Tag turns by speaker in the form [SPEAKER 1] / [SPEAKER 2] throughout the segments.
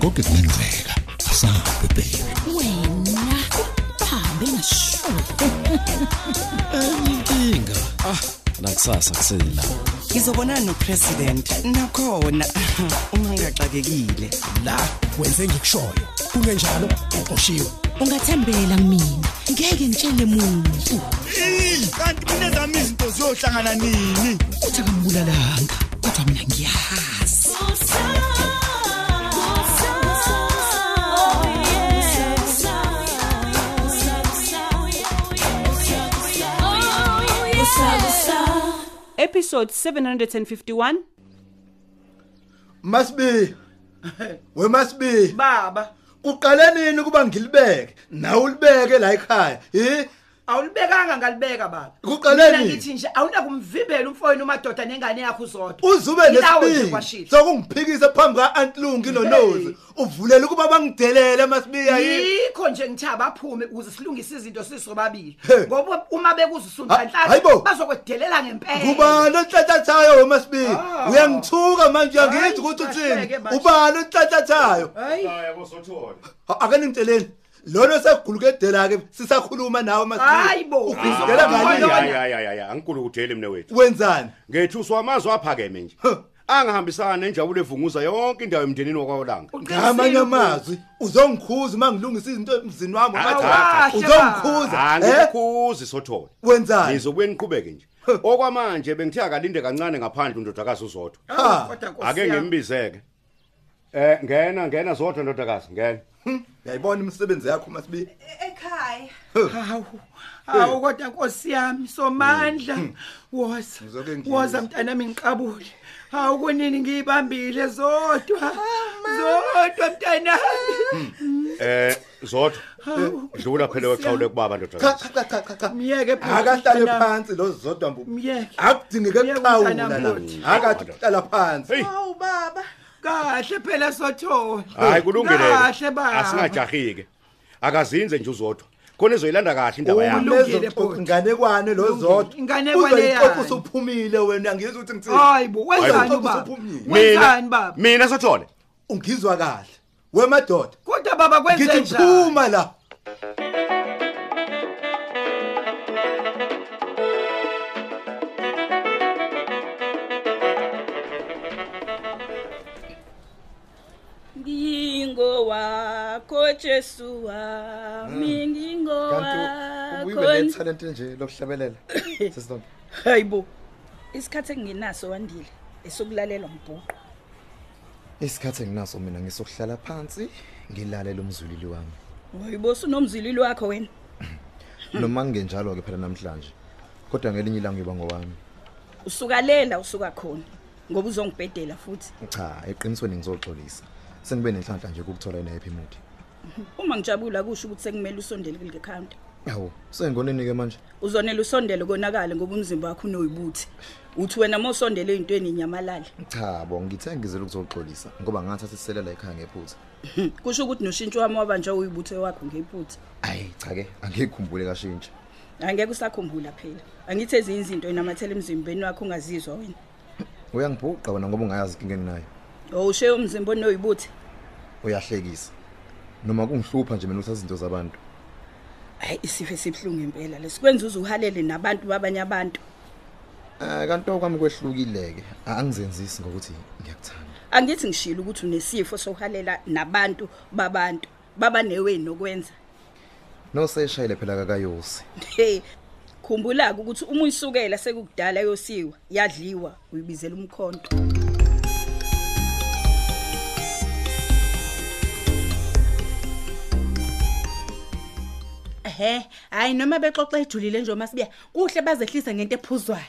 [SPEAKER 1] konke kungenzeka asabe baby
[SPEAKER 2] wena uhambe ngashuwa
[SPEAKER 3] inkinga ah nakusasa kusela
[SPEAKER 4] Ngizobonana nopresident nakhona uma ngigaxakekile.
[SPEAKER 5] la wenze ngikushoyo kungenjalo uqoshiwe
[SPEAKER 2] ungathembela mina ngeke ngitshele muntu
[SPEAKER 6] kanti mina zami izinto ziyohlangana nini
[SPEAKER 2] uthi akambulalanga kodwa mina ngiyazi
[SPEAKER 7] Episode 751
[SPEAKER 6] masibi we masibi
[SPEAKER 8] baba
[SPEAKER 6] uqale nini kuba ngilibeke nawe ulibeke la ekhaya hi
[SPEAKER 8] awulibekanga ngalibeka baba
[SPEAKER 6] Kuqale
[SPEAKER 8] Mina
[SPEAKER 6] nini?
[SPEAKER 8] ngithi nje awunakumvimbela umfoyini umadoda nengane yakho uzodwa
[SPEAKER 6] uzube
[SPEAKER 8] Yilawo nje
[SPEAKER 6] nesibindi
[SPEAKER 8] kwashilo.
[SPEAKER 6] sokungiphikisa phambi kaantlungi nonozi uvulela ukuba bangidelele masibi yayi
[SPEAKER 8] yikho nje ngithi abaphume ukuze silungise izinto sisobabili
[SPEAKER 6] He.
[SPEAKER 8] ngoba uma bekuza
[SPEAKER 6] Ha- hayibo.
[SPEAKER 8] usunhlanhla bazokwedelela ngempela
[SPEAKER 6] Kubani onhlathathayo we masibi
[SPEAKER 8] Ah.
[SPEAKER 6] uyangithuka manje
[SPEAKER 8] Hayi,
[SPEAKER 6] uyangizwa ukuthi uthini
[SPEAKER 8] kahleke manje.
[SPEAKER 6] ubani onhlathathayo
[SPEAKER 8] hayi
[SPEAKER 6] ake ningitsheleni lona segulukedela ke sisakhuluma nawe masibi
[SPEAKER 8] hayi bo
[SPEAKER 6] ufikela
[SPEAKER 8] Ubona
[SPEAKER 6] ngani
[SPEAKER 8] lona?
[SPEAKER 9] ayayaya angikulukutheli mne wethu
[SPEAKER 6] wenzani
[SPEAKER 9] ngethi uswamazwe aphakeme nje
[SPEAKER 6] Huh.
[SPEAKER 9] angihambisana nenjabulo evunguza yonke indawo emndenini wakwawolanga
[SPEAKER 6] ngamanye
[SPEAKER 8] Uqinisile
[SPEAKER 6] amazwi uzongikhuza uma ngilungisa izinto emzini wami
[SPEAKER 9] Awu,
[SPEAKER 6] manje.
[SPEAKER 8] kahle Ah,
[SPEAKER 6] uzongikhuza eh
[SPEAKER 9] angikukhuzi sothola
[SPEAKER 6] wenzani
[SPEAKER 9] ngizobuye niqhubeke nje okwamanje bengithe akalinde kancane ngaphandle undodakazi uzodwa
[SPEAKER 8] Ah, kodwa Nkosi
[SPEAKER 9] ake
[SPEAKER 8] yami.
[SPEAKER 9] ngimbizeke eh ngena ngena zodwa ndodakazi ngena
[SPEAKER 6] Hmm? uyayibona imisebenzi yakho masibi
[SPEAKER 10] ekhaya
[SPEAKER 8] hawu hawu kodwa nkosi yami somandla woza
[SPEAKER 6] Ngizoke ngiyizwe.
[SPEAKER 8] woza mntanami ngiqabule hawu kunini ngiyibambile zodwa zodwa mntanami
[SPEAKER 9] eh zodwa
[SPEAKER 8] Hawu,
[SPEAKER 9] dlula phela
[SPEAKER 8] Nkosi yami.
[SPEAKER 9] weqhawule kubaba
[SPEAKER 6] cha
[SPEAKER 9] ndodakazi
[SPEAKER 6] cha cha cha cha
[SPEAKER 8] myeke phela
[SPEAKER 6] akahlale
[SPEAKER 8] mntanami.
[SPEAKER 6] phansi lo zodwa mbu
[SPEAKER 8] myeke
[SPEAKER 6] akudingeke
[SPEAKER 8] Yebo,
[SPEAKER 6] ukuqhawula
[SPEAKER 8] mntanami,
[SPEAKER 6] la
[SPEAKER 9] uthi.
[SPEAKER 6] akathi ukuhlala phansi
[SPEAKER 9] hey
[SPEAKER 10] awu baba
[SPEAKER 8] kahle phela sothola
[SPEAKER 9] hayi kulungile
[SPEAKER 8] kahle baba
[SPEAKER 9] asingajahike akazinze nje uzodwa khona izoyilanda kahle indaba yakhe
[SPEAKER 8] Ulungile,
[SPEAKER 6] ulezo
[SPEAKER 8] bhuti.
[SPEAKER 6] inganekwane lo
[SPEAKER 8] Ulungile.
[SPEAKER 6] zodwa
[SPEAKER 8] Inganekwane
[SPEAKER 6] uzoyiqopha
[SPEAKER 8] yani.
[SPEAKER 6] usuphumile wena ngiyizwa ukuthi ngithini
[SPEAKER 8] hayi bo wenzani
[SPEAKER 6] Hayibo.
[SPEAKER 8] ubaba
[SPEAKER 6] Usuphumile.
[SPEAKER 8] wenzani baba
[SPEAKER 9] mina sothole
[SPEAKER 6] ungizwa kahle wemadoda
[SPEAKER 8] kodwa baba kwenze
[SPEAKER 6] ngithi
[SPEAKER 8] njani
[SPEAKER 6] phuma la
[SPEAKER 11] Ngingo wakho Jesu wami ngingo wakho
[SPEAKER 12] talent nje lokuhlabelela sesinombe
[SPEAKER 11] hayibo isikhathe nginaso wandile esokulalelwa mbhuqo
[SPEAKER 12] isikhathi enginaso mina ngisokuhlala phansi ngilalele umzulili wami
[SPEAKER 11] hayibo sunomzilili wakho wena
[SPEAKER 12] noma kungenjalo ke phela namhlanje kodwa ngelinye ilanga ngiba ngowami
[SPEAKER 11] usukalela usuka khona ngoba uzongibhedela futhi
[SPEAKER 12] cha eqinisweni ngizoxolisa sengibe nenhlanhla nje ukuthola inayiphi imuthi
[SPEAKER 11] uma ngijabula kusho ukuthi sekumele usondele kule counter
[SPEAKER 12] awu sengonini ke manje
[SPEAKER 11] uzonela usondele konakale ngoba umzimba wakho unoyibuthi uthi wena mosondele ezintweni inyamalala
[SPEAKER 12] cha bo ngithe ngizele ukuzoxolisa ngoba ngathi asiselela ekhaya ngephutha
[SPEAKER 11] kusho ukuthi noshintsho wami wabanja uyibuthe wakho ngephutha
[SPEAKER 12] ayi cha ke angikhumbule kashintshe
[SPEAKER 11] angeke usakhumbula phela angithi ezinye izinto inamathele emzimbeni wakho ungazizwa wena
[SPEAKER 12] uyangibhuqa wena ngoba ungayazi inkinga enginayo
[SPEAKER 11] owushe umzimba onoyibuthi
[SPEAKER 12] uyahlekisa noma kungihlupha nje mina ukuthi izinto zabantu
[SPEAKER 11] hayi isifo esibhlungu impela lesikwenza uze uhalele nabantu babanye abantu
[SPEAKER 12] Eh kanti okwami kwehlukileke angizenzisi ngokuthi ngiyakuthanda.
[SPEAKER 11] angithi ngishilo ukuthi unesifo sokuhalela nabantu babantu babaneweni nokwenza
[SPEAKER 12] No seshayile phela kakayosi.
[SPEAKER 11] hey khumbula ukuthi uma uyisukela sekukudala yosiwa yadliwa uyibizela umkhonto
[SPEAKER 13] ehe hayi noma bexoxa ejulile nje masibiya kuhle bazehlise ngento ephuzwayo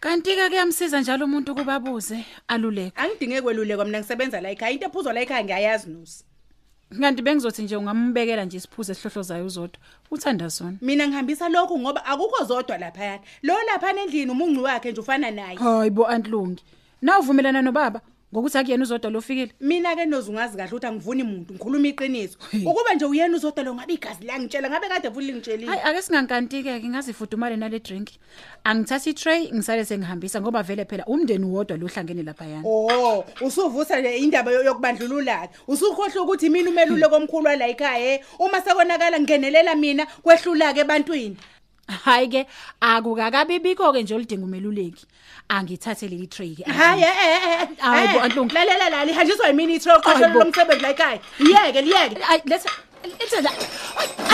[SPEAKER 14] Kanti-ke kuyamsiza njalo umuntu kubabuze aluleko.
[SPEAKER 13] angidinge kwelulekwa mina ngisebenza la ekhaya into ephuzwa la ekhaya ngiyayazi nosi
[SPEAKER 14] Kanti bengizothi nje ungamubekela nje isiphuzo esihlohlozayo uzodwa. Uthanda zona.
[SPEAKER 13] mina ngihambisa lokhu ngoba akukho zodwa laphayana lo laphana endlini umuncu wakhe nje ufana naye
[SPEAKER 14] Hayibo antlungi. Na uvumelana nobaba ngokuthi akuyena uzodwa lofikile
[SPEAKER 11] mina-ke noze ungazi kahle ukuthi angivuni muntu ngikhuluma iqiniso ukuba nje uyena uzodwa lo ngabe igazi langitshela ngabe kade futhi lingitshelile
[SPEAKER 14] hayi ake singankanti-ke ke ngazifudumale nale drink angithatha itray ngisale sengihambisa ngoba vele phela umndeni wodwa lohlangene laphayana
[SPEAKER 11] o Oh, usuvusa nje indaba yo- yokubandlululana usukhohlwa ukuthi mina umelule
[SPEAKER 14] Hmm.
[SPEAKER 11] komkhulu wala ekhaya eh? uma sekonakala ngenelela mina kwehlula-ke ebantwini
[SPEAKER 14] hhayi-ke akukakabibikho-ke nje oludinga umeluleki angithathe leli tray-ke
[SPEAKER 11] hayi eh, e-e
[SPEAKER 14] Hayi bo, Antunge.
[SPEAKER 11] eh. lalela la lihanjiswa yimini ithro
[SPEAKER 14] Hayi bo.
[SPEAKER 11] oqashelo lomsebenzi la ekhaya liyeke liyeke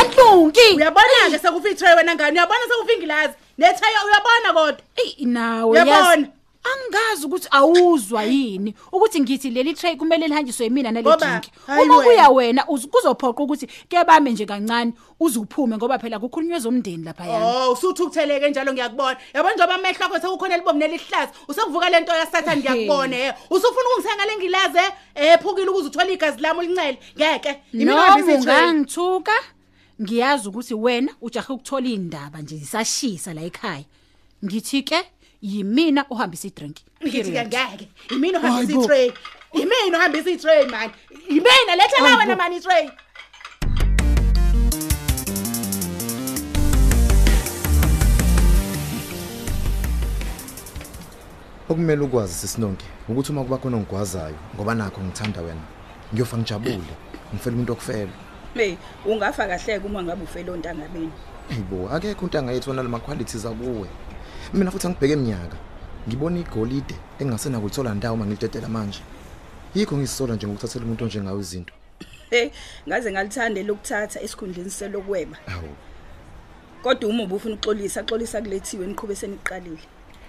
[SPEAKER 14] antlunki
[SPEAKER 11] uyabona-ke sekufa ithray wena ngani uyabona sekufa ingilazi nethaya uyabona kodwa
[SPEAKER 14] eyi nawe
[SPEAKER 11] Uyabona?
[SPEAKER 14] yazi, angazi ukuthi awuzwa yini ukuthi ngithi leli tray kumele lihanjiswe yimina nale
[SPEAKER 11] Ngoba,
[SPEAKER 14] drinki
[SPEAKER 11] hhayi
[SPEAKER 14] uma
[SPEAKER 11] wena.
[SPEAKER 14] kuya wena uz- kuzophoqa ukuthi ke bame nje kancane uze uphume ngoba phela kukhulunywe zomndeni laphayana
[SPEAKER 11] o usuthukutheleke Oh, njalo ngiyakubona yabona njengoba amehlo akho sekukhona libomnela ihlaza usekuvuka le nto yasathane ngiyakubona e usufuna ukungisenga le ngilaze Eh, ephukile ukuze uthole igazi lami ulincele ngeke
[SPEAKER 14] noma ungangithuka ngiyazi ukuthi wena ujahe ukuthola iy'ndaba nje zisashisa la ekhaya ngithi-ke yimina ohambisa idrinki
[SPEAKER 11] ngithi-ke ngeke yimina
[SPEAKER 14] Hayi
[SPEAKER 11] ohambisa
[SPEAKER 14] bo.
[SPEAKER 11] itray yimina ohambisa itray mani yimina letha la
[SPEAKER 14] Hayi
[SPEAKER 11] wena
[SPEAKER 14] bo.
[SPEAKER 11] mani itray
[SPEAKER 12] okumele ukwazi sisinonke ukuthi uma kuba khona ngigwazayo ngoba nakho ngithanda wena ngiyofa ngijabule ngifela umuntu okufela
[SPEAKER 15] hey ungafa kahleke uma ngabe ufelo ntangabeni
[SPEAKER 12] hayibo akekho untanga yethu onale ma-qualities akuwe mina futhi angibheke eminyaka ngibona igolide engingasenakulithola ndawo uma ngilitetela manje yikho ngizisola nje ngokuthathela umuntu onjengawo izinto
[SPEAKER 15] hey ngaze ngalithande lokuthatha esikhundleni selokweba
[SPEAKER 12] hawu
[SPEAKER 15] kodwa uma ubufuna uxolisa xolisa kulethiwe niqhube seniqalile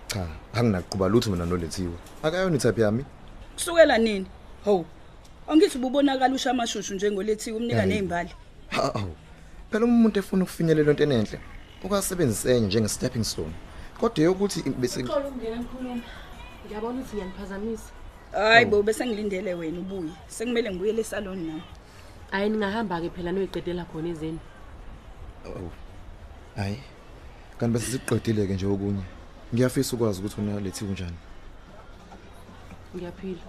[SPEAKER 12] cha anginakuquba lutho mina nolethiwe akayona ithaphi yami
[SPEAKER 15] kusukela nini ho angithi ububonakala usha amashushu njengolethiwe umnika
[SPEAKER 12] Hayi.
[SPEAKER 15] nezimbali
[SPEAKER 12] Ha- hawu phela uma umuntu efuna ukufinyelela into enenhle ukasebenzisa enye njenge-stepping stone kodwa eyokuthi bese
[SPEAKER 10] ukungena ngikhuluma ngiyabona ukuthi ngiyaniphazamisa
[SPEAKER 15] hayi bo bese ngilindele wena ubuye sekumele ngibuyele esaloni nami
[SPEAKER 10] hhayi ningahamba-ke phela noyiqedela khona ezeni
[SPEAKER 12] Awu. hayi kanti bese siqedile-ke nje okunye ngiyafisa ukwazi ukuthi wena lethiwe njani
[SPEAKER 10] ngiyaphila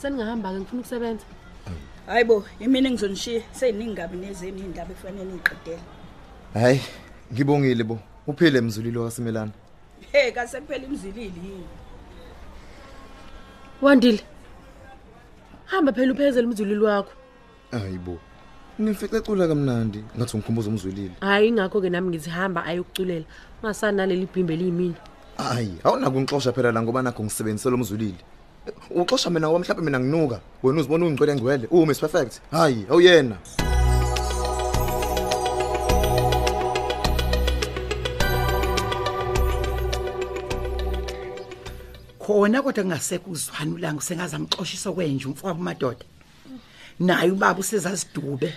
[SPEAKER 10] seningahamba-ke ngifuna ukusebenza
[SPEAKER 15] hayi bo imini engizonishiya seyiningingabi nezeni iy'ndaba ekufanele niyiqedele
[SPEAKER 12] hhayi ngibongile bo uphile mzulilo wasimelana
[SPEAKER 15] hey kase kuphela imzilili yini
[SPEAKER 10] wandile hamba phela uphezele umzululi wakho
[SPEAKER 12] hayi bo ngifice ecula kamnandi ngathi ngikhumbuza umzulile
[SPEAKER 10] hhayi ingakho-ke nami ngithi hamba ayokuculela ungasani naleli bhimbe eliyimina
[SPEAKER 12] hayi awunakunixosha phela la ngoba nakho ngisebenzisele umzulile uxosha mina ngoba mhlawumbe mina nginuka wena uzibona ungigcwele ngcwele uwumiss perfect hhayi awuyena
[SPEAKER 8] khona kodwa kungasekho uzwani ulanga usengazamxoshisa kwenje umfowabo madoda naye ubaba usezasidube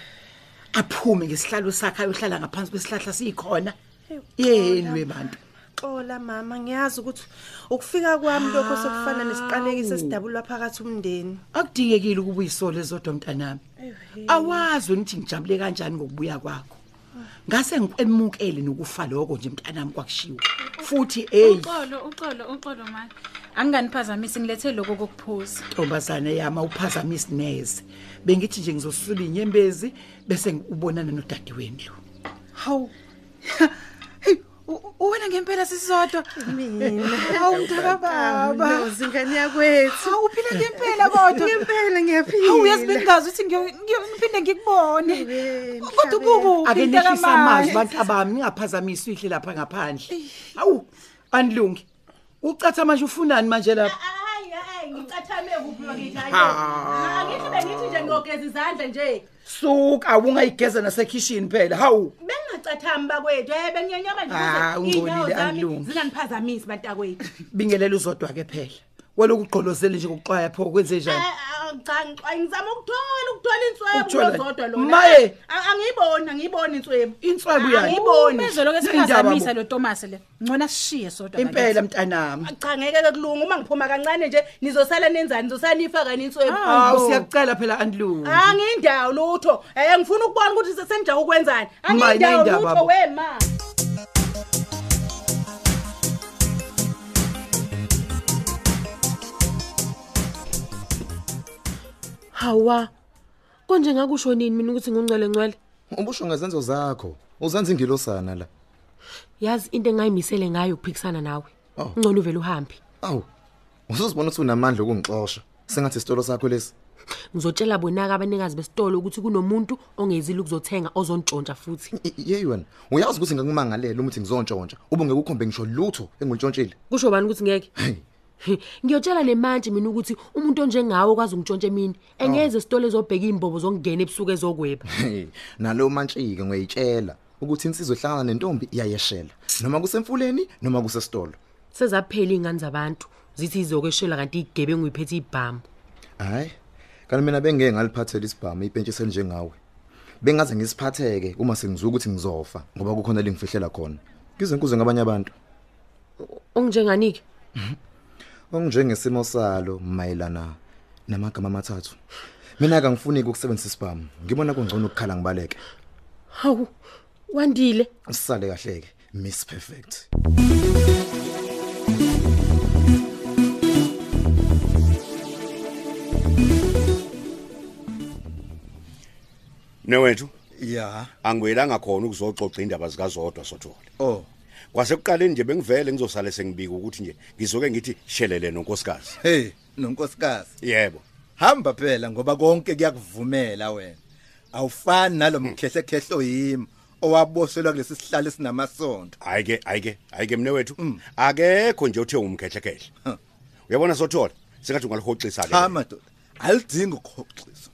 [SPEAKER 8] aphume ngesihlalo sakhe ayohlala ngaphansi kwesihlahla sikhona yeni webantu
[SPEAKER 16] xola mama ngiyazi ukuthi ukufika kwami lokho sekufana nesiqalekiso esidabulwa phakathi umndeni
[SPEAKER 8] akudingekile ukuba uyisole zodwa mntanami awazi wena ukuthi ngijabule kanjani ngokubuya kwakho ngase ngikwemukele nokufa lokho nje mntanami kwakushiwo futhi eyi
[SPEAKER 14] uxolo uxolo uxolo mani anginganiphazamisi ngilethe lokho kokuphuza
[SPEAKER 8] ntombazane yami awuphazamisi neze bengithi nje ngizosula inyembezi bese ubonana nodade wendlu
[SPEAKER 14] hawu wena ngempela sisodwa
[SPEAKER 16] Hawu, mntakababa. Ntozi,
[SPEAKER 14] ingane yakwethu hawu uphile ngempela kodwa
[SPEAKER 16] Ngempela, ngiyaphila.
[SPEAKER 14] hawu yazi bengazi ukuthi ngiyo- ngiyo- ngiphinde ngikubone kodwa ukukuphi
[SPEAKER 8] ake nehlisa
[SPEAKER 14] mntakamanje?
[SPEAKER 8] amazwi bantu abami ningaphazamisi uyihle lapha ngaphandle hawu anilungi ucatha manje ufunani manje lapha
[SPEAKER 11] hayi hayi ngicathame kuphi
[SPEAKER 8] Ha.
[SPEAKER 11] ngithi bengithi nje ngiyogeza izandla nje
[SPEAKER 8] suka ubungayigeza nasekhishini phela hawu
[SPEAKER 11] bengingacathami bakwethu um benginyanyaba nje
[SPEAKER 8] Ah,
[SPEAKER 11] ukuze iy'nyawo
[SPEAKER 8] ungcolile,
[SPEAKER 11] zami
[SPEAKER 8] anilungi.
[SPEAKER 11] zinganiphazamisi bantakwethu
[SPEAKER 8] bingelela uzodwa-ke phela weloku ugqolozele nje ngokuxwaya pho kwenze njani
[SPEAKER 11] Ah, cha ngixa- ngizama ukuthola ukuthola
[SPEAKER 8] Ukuthola-
[SPEAKER 11] inswebo lozodwa lona Ah,
[SPEAKER 8] Maye!
[SPEAKER 11] A- angiyiboni angiyiboni inswebo
[SPEAKER 8] inswebo uyani?
[SPEAKER 14] umezoloke
[SPEAKER 8] Yini indaba bo?
[SPEAKER 14] siphazamisa lo tomasi le ngcona sishiye sodwa
[SPEAKER 8] impela mntanami
[SPEAKER 11] cha ngeke-ke kulunga uma ngiphuma kancane nje nizosala nenzani nizosala niyifa kani inswebo
[SPEAKER 8] hawu siyakucela phela antilungi
[SPEAKER 11] Ah. angiyindawo lutho um ngifuna ukubona ukuthi se- senijaka ukwenzani
[SPEAKER 8] Maye,
[SPEAKER 11] angiyindawo
[SPEAKER 8] nayindaba
[SPEAKER 11] lutho
[SPEAKER 8] bo.
[SPEAKER 11] wema
[SPEAKER 10] hawa konje ngakusho nini mina ukuthi ngungcwele ngcwele
[SPEAKER 12] ubusho ngezenzo zakho uzanza ingilosana la
[SPEAKER 10] yazi into engayimisele ngayo ukuphikisana nawe
[SPEAKER 12] Oh.
[SPEAKER 10] ngcono uvela uhambe
[SPEAKER 12] awu usuzibona ukuthi unamandla okungixosha sengathi isitolo sakho lesi
[SPEAKER 10] ngizotshela bonaka abanikazi besitolo ukuthi kunomuntu ongezile ukuzothenga ozontshontsha futhi
[SPEAKER 12] yeyi wena uyazi ukuthi ngakumangalela ukuthi ngizontshontshontsha ube ngeke ukhombe ngisho lutho engilintshontshe
[SPEAKER 10] kusho bani ukuthi ngeke ngiyotshela nemanje mina ukuthi umuntu onjengawe okwazi ungitshontshe mina engeze
[SPEAKER 8] Oh.
[SPEAKER 10] isitolo ezobheka iy'mbobo zokungena ebusuku ezokweba
[SPEAKER 12] Hey, nalo mantshike ngiyayitshela ukuthi insizwe ehlangana nentombi iyayeshela noma kusemfuleni noma kusesitolo
[SPEAKER 10] sezaphela iy'ngane zabantu zithi izokweshela kanti igebengu iphethe ibhamu
[SPEAKER 12] hayi kanti mina bengeke ngaliphathela isibhamu ibhentshise njengawe bengaze ngisiphatheke uma sengizwe ukuthi ngizofa ngoba kukhona lengifihlela khona ngizenkuze ngabanye abantu
[SPEAKER 10] onginjenganike
[SPEAKER 12] onginjengesimo salo mayelana namagama amathathu mina kangifuni ukusebenzisa isibhamu ngibona kungcono ukukhala ngibaleke
[SPEAKER 10] hawu wandile
[SPEAKER 12] sisale kahle ke miss perfect
[SPEAKER 9] Newethu,
[SPEAKER 6] ya
[SPEAKER 9] angiwelanga khona ukuzoxoxa indaba zikazodwa sothole.
[SPEAKER 6] Oh.
[SPEAKER 9] Kwasekuqaleni nje bengivele ngizosale sengibika ukuthi nje ngizoke ngithi shelele nonkosikazi.
[SPEAKER 6] hey nonkosikazi
[SPEAKER 9] yebo
[SPEAKER 6] hamba phela ngoba konke kuyakuvumela wena awufani nalomkhehlekhehlo yimi owaboselwa kulesi sihlalo esinamasonto
[SPEAKER 9] Hayi ke, hayi ke, hayi ke mnewethu.
[SPEAKER 8] Mm.
[SPEAKER 9] Akekho nje uthe umkhehlekhehle. Uyabona sothola, sengathi ungalihoxisa ke.
[SPEAKER 6] cha madoda alidingi ukuhoxisa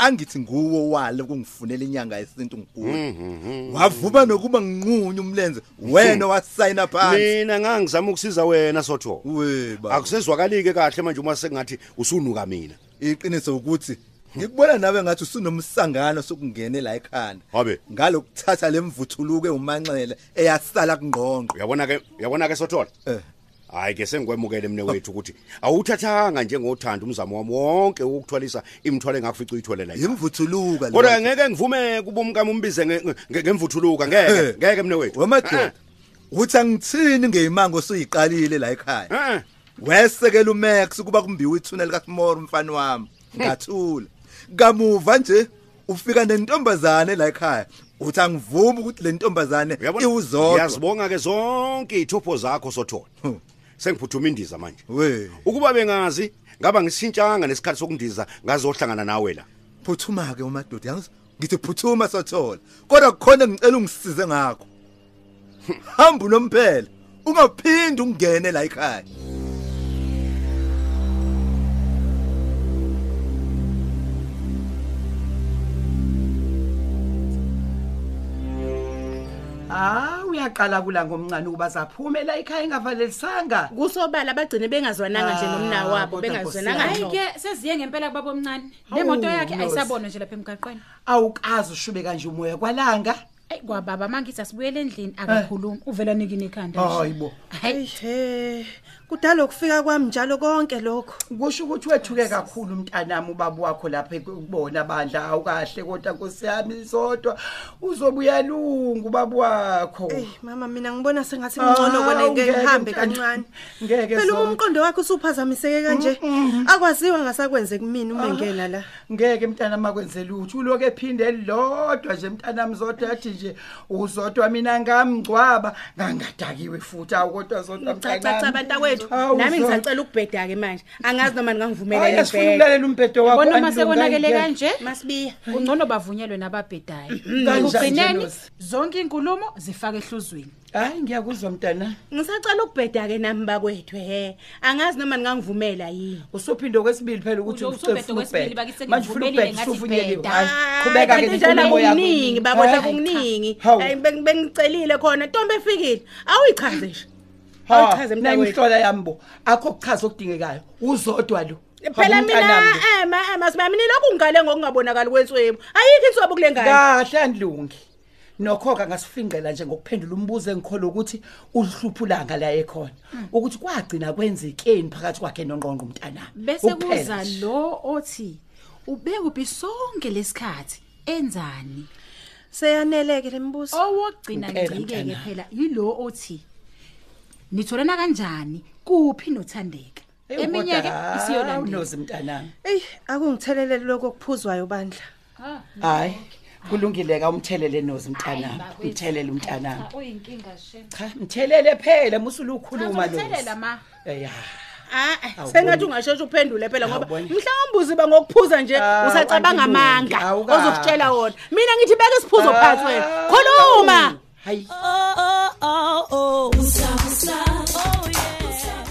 [SPEAKER 6] angithi nguwo wale kungifunela inyanga yesintu ngigule
[SPEAKER 9] Mhm.
[SPEAKER 6] wavuma nokuba nginqunywe umlenze wena wasayina phansi
[SPEAKER 9] Mina ngangizama ukusiza wena sothola.
[SPEAKER 6] Weba.
[SPEAKER 9] Akusezwakalike kahle manje uma sengathi usunuka mina.
[SPEAKER 6] iqiniso ukuthi ngikubona nawe ngathi usunomsangano sokungene la ekhanda
[SPEAKER 9] Wabe.
[SPEAKER 6] ngalokuthatha lemvuthuluke umanxele eyasala kungqongqo
[SPEAKER 9] uyabona ke uyabona ke sothola hayi ke sengikwemukele mne wethu ukuthi awuthathanga njengothanda umzamo wami wonke ukuthwalisa imthwalo engakufica uyitholela
[SPEAKER 6] imvuthuluka
[SPEAKER 9] kodwa ngeke ngivume kubumkami umbize nge- nge- ngemvuthuluka ngeke ngeke mne wethu
[SPEAKER 6] wemadoda uthi angithini ngeyimango osuyiqalile la
[SPEAKER 9] Eh,
[SPEAKER 6] ekhaya wesekela umax ukuba kumbiwe ithuna likaSmore umfana wami ngathula kamuva nje ufika nentombazane la ekhaya uthi angivumi ukuthi le ntombazane iwuzodwa
[SPEAKER 9] yazibonga ke zonke izithopho zakho sothola sengiphuthuma indiza manje
[SPEAKER 6] we
[SPEAKER 9] ukuba bengazi ngaba ngisintshanga nesikhathi sokundiza ngazohlangana nawe la
[SPEAKER 6] phuthuma ke umadoda yangiz ngithi phuthuma sothola kodwa kukhona ngicela ungisize ngakho hamba nomphela ungaphindi ungene la ekhaya
[SPEAKER 8] ah uyaqala kula ngomncane ukuba zaphumela ekhaya engavalelisanga
[SPEAKER 11] kusobala bagcine bengazwananga
[SPEAKER 8] Ah.
[SPEAKER 11] nje nomna wabo bengazwananga
[SPEAKER 14] hayi
[SPEAKER 11] nje
[SPEAKER 14] ke seziye ngempela kubaba omncane
[SPEAKER 8] Hawu,
[SPEAKER 14] nemoto yakhe
[SPEAKER 8] Nkosi.
[SPEAKER 14] ayisabonwa nje lapha emgaqweni
[SPEAKER 8] awukazi ushube kanje umoya kwalanga
[SPEAKER 14] ayi kwababa mangithi asibuyele endlini
[SPEAKER 8] Eh.
[SPEAKER 14] akakhulumi uvela nikini ikhanda nje.
[SPEAKER 8] hayibo
[SPEAKER 16] Eyihe. Kudala ukufika kwami njalo konke lokho.
[SPEAKER 8] Kusho ukuthi wethuke kakhulu mntanami ubaba wakho lapha kubona bandla awukahle kodwa kusiyami sodwa uzobuya lungu baba wakho
[SPEAKER 16] Ey mama mina ngibona sengathi ngcono kona into ehambe kancane.
[SPEAKER 8] Ah, ngeke Mm,
[SPEAKER 16] Phela uma
[SPEAKER 8] Zola.
[SPEAKER 16] umqondo wakho usuphazamiseke kanje akwaziwa ngasakwenze kumina
[SPEAKER 8] Ah,
[SPEAKER 16] uma ngena la.
[SPEAKER 8] ngeke mntanami akwenze lutho uloku ephinde elilodwa nje mntanami zodwa athi nje uzodwa mina ngamngcwaba ngangadakiwe futhi awu kodwa zodwa
[SPEAKER 11] cacaca
[SPEAKER 8] mntanami.
[SPEAKER 11] abantu awethu
[SPEAKER 8] Hawu,
[SPEAKER 11] nami
[SPEAKER 8] Zodwa.
[SPEAKER 11] ngisacela ukubheda-ke manje angazi noma
[SPEAKER 8] Hhayi, asifuni ukulalela umbhedo wakho,
[SPEAKER 14] Yabona uma
[SPEAKER 8] Andile,
[SPEAKER 14] sekonakele
[SPEAKER 8] ngeke.
[SPEAKER 14] kanje
[SPEAKER 11] masibiya
[SPEAKER 14] ungcono bavunyelwe nababhedayo
[SPEAKER 8] Kanjani,
[SPEAKER 14] ekugcineni
[SPEAKER 8] Nkosi?
[SPEAKER 14] zonke inkulumo zifake ehluzweni
[SPEAKER 8] hayi ngiyakuzwa mntana
[SPEAKER 11] ngisacela ukubheda-ke nami bakwethu he angazi noma ningangivumela yini
[SPEAKER 8] usuphinde kwesibili phela ukuthi
[SPEAKER 11] Uzo-
[SPEAKER 8] ucele
[SPEAKER 11] usubhede
[SPEAKER 8] ufuna
[SPEAKER 11] kwesibili,
[SPEAKER 8] ukubheda.
[SPEAKER 11] bakithi
[SPEAKER 8] Manje ufuna
[SPEAKER 11] sengivumelile
[SPEAKER 8] ukubheda,
[SPEAKER 11] ngathi
[SPEAKER 8] usuvunyeliwe.
[SPEAKER 11] bheda.
[SPEAKER 8] Hayi,
[SPEAKER 11] Hhayi,
[SPEAKER 8] qhubeka-ke
[SPEAKER 11] kanti
[SPEAKER 8] nje,
[SPEAKER 11] njalo
[SPEAKER 8] inkomo yakho
[SPEAKER 11] kuningi
[SPEAKER 8] iningi.
[SPEAKER 11] bakwethu
[SPEAKER 8] Hayi, cha.
[SPEAKER 11] akuningi
[SPEAKER 8] Hawu.
[SPEAKER 11] Hhayi, bengi- bengicelile khona ntombi efikile awuyichaze nje
[SPEAKER 8] Ha,
[SPEAKER 11] awuyichaze
[SPEAKER 8] nangu
[SPEAKER 11] mntakwethu
[SPEAKER 8] ihlola yami bo akho kuchaza okudingekayo uzodwa lo
[SPEAKER 11] Eh, phela
[SPEAKER 8] Hawu, mntanami
[SPEAKER 11] mina
[SPEAKER 8] lo.
[SPEAKER 14] eh,
[SPEAKER 12] eh,
[SPEAKER 11] ema ema siba mina lokhu ngigale ngokungabonakali kwenswebu ayikho inswebu kule ngane
[SPEAKER 8] kahle andilungi nokho-ke ngasifingqela nje ngokuphendula umbuzo engikhola ukuthi ulihluphulanga la ekhona
[SPEAKER 11] Hmm.
[SPEAKER 8] ukuthi kwagcina kwenzekeni phakathi kwakhe nonqonqo umntanami
[SPEAKER 14] bese kuza lo othi ubekuphi sonke lesikhathi enzani
[SPEAKER 16] Seyaneleke lembuso
[SPEAKER 12] Oh.
[SPEAKER 14] owokugcina
[SPEAKER 16] Impela,
[SPEAKER 14] ngicike-ke
[SPEAKER 16] mntanami.
[SPEAKER 14] phela yilo othi nitholana kanjani kuphi nothandeka
[SPEAKER 17] Eminye ke isiyona
[SPEAKER 8] unozi mntanami
[SPEAKER 11] eyi akungitheleleli lokho okuphuzwayo bandla
[SPEAKER 8] hayi kulungileka umthelele nozi mntanami
[SPEAKER 17] bakwethu.
[SPEAKER 8] umthelele umntanami
[SPEAKER 17] Oyinkinga shema.
[SPEAKER 8] cha mthelele phela musulukhuluma
[SPEAKER 17] Umthelela ma.
[SPEAKER 8] eya
[SPEAKER 12] Ah,
[SPEAKER 8] Awuboni.
[SPEAKER 12] sengathi ungasheshe uphendule phela ngoba
[SPEAKER 8] Awuboni.
[SPEAKER 12] mhlawumbe uziba ngokuphuza nje usacabanga
[SPEAKER 8] antilungi.
[SPEAKER 12] amanga
[SPEAKER 8] Awukahle.
[SPEAKER 12] ozokutshela wona mina ngithi beka isiphuzo phansi wena khuluma
[SPEAKER 8] hayi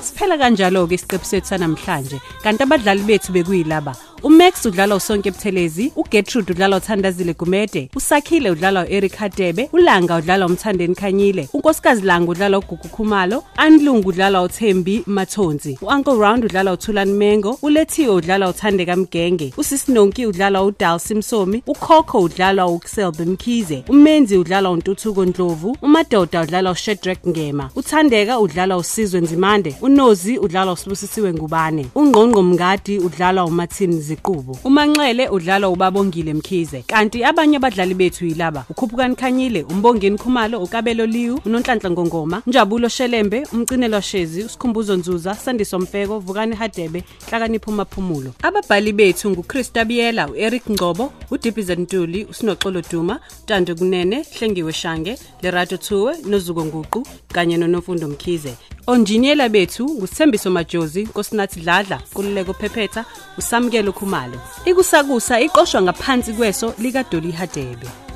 [SPEAKER 14] Siphela kanjalo ke isiqephu sethu sanamhlanje. Kanti abadlali bethu bekuyilaba. UMax udlala uSonke Buthelezi, uGertrude udlala uThandazile Gumede, uSakhile udlala uEric Hadebe, uLanga udlala uMthandeni Khanyile, uNkosikazi Langa udlala uGugu Khumalo, Anlungu udlala uThembi Mathonzi, uUncle Round udlala uThulani Mengo, uLethiwe udlala uThandeka Mgenge, uSisinonki udlala uDalsi Msomi, uKhokho udlala uKselbe Mkhize, uMenzi udlala uNtuthuko Ndlovu, uMadoda udlala uShedrack Ngema, uThandeka udlala uSizwe Nzimande, uNozi udlala uSibusisiwe Ngubane, uNgqongqo Mngadi udlala uMathini Ziqubo, uManxele udlala uBabongile Mkhize. Kanti abanye abadlali bethu yilaba: uKhuphukani Khanyile, uMbongeni Khumalo, uKabelo Liwu, uNonhlanhla Ngongoma, Njabulo Shelembe, uMcinelwa Shezi, uSkhumbuzo Nzuza, Sandiso Mfeko, Vukani Hadebe, Hlakanipho Maphumulo. Ababhali bethu nguChrista Biyela, uEric Ngcobo, uDiphize Ntuli, uSinoxolo Duma, Tando Kunene, Hlengiwe Shange, Lerato Thuwe, noZuko Nguqu kanye noNofundo Mkhize. Onjiniyela bethu ngusithembiso majozi nkosinathi dladla kululeko phephetha usamukelo khumalo ikusakusa iqoshwa ngaphansi kweso likadoli hadebe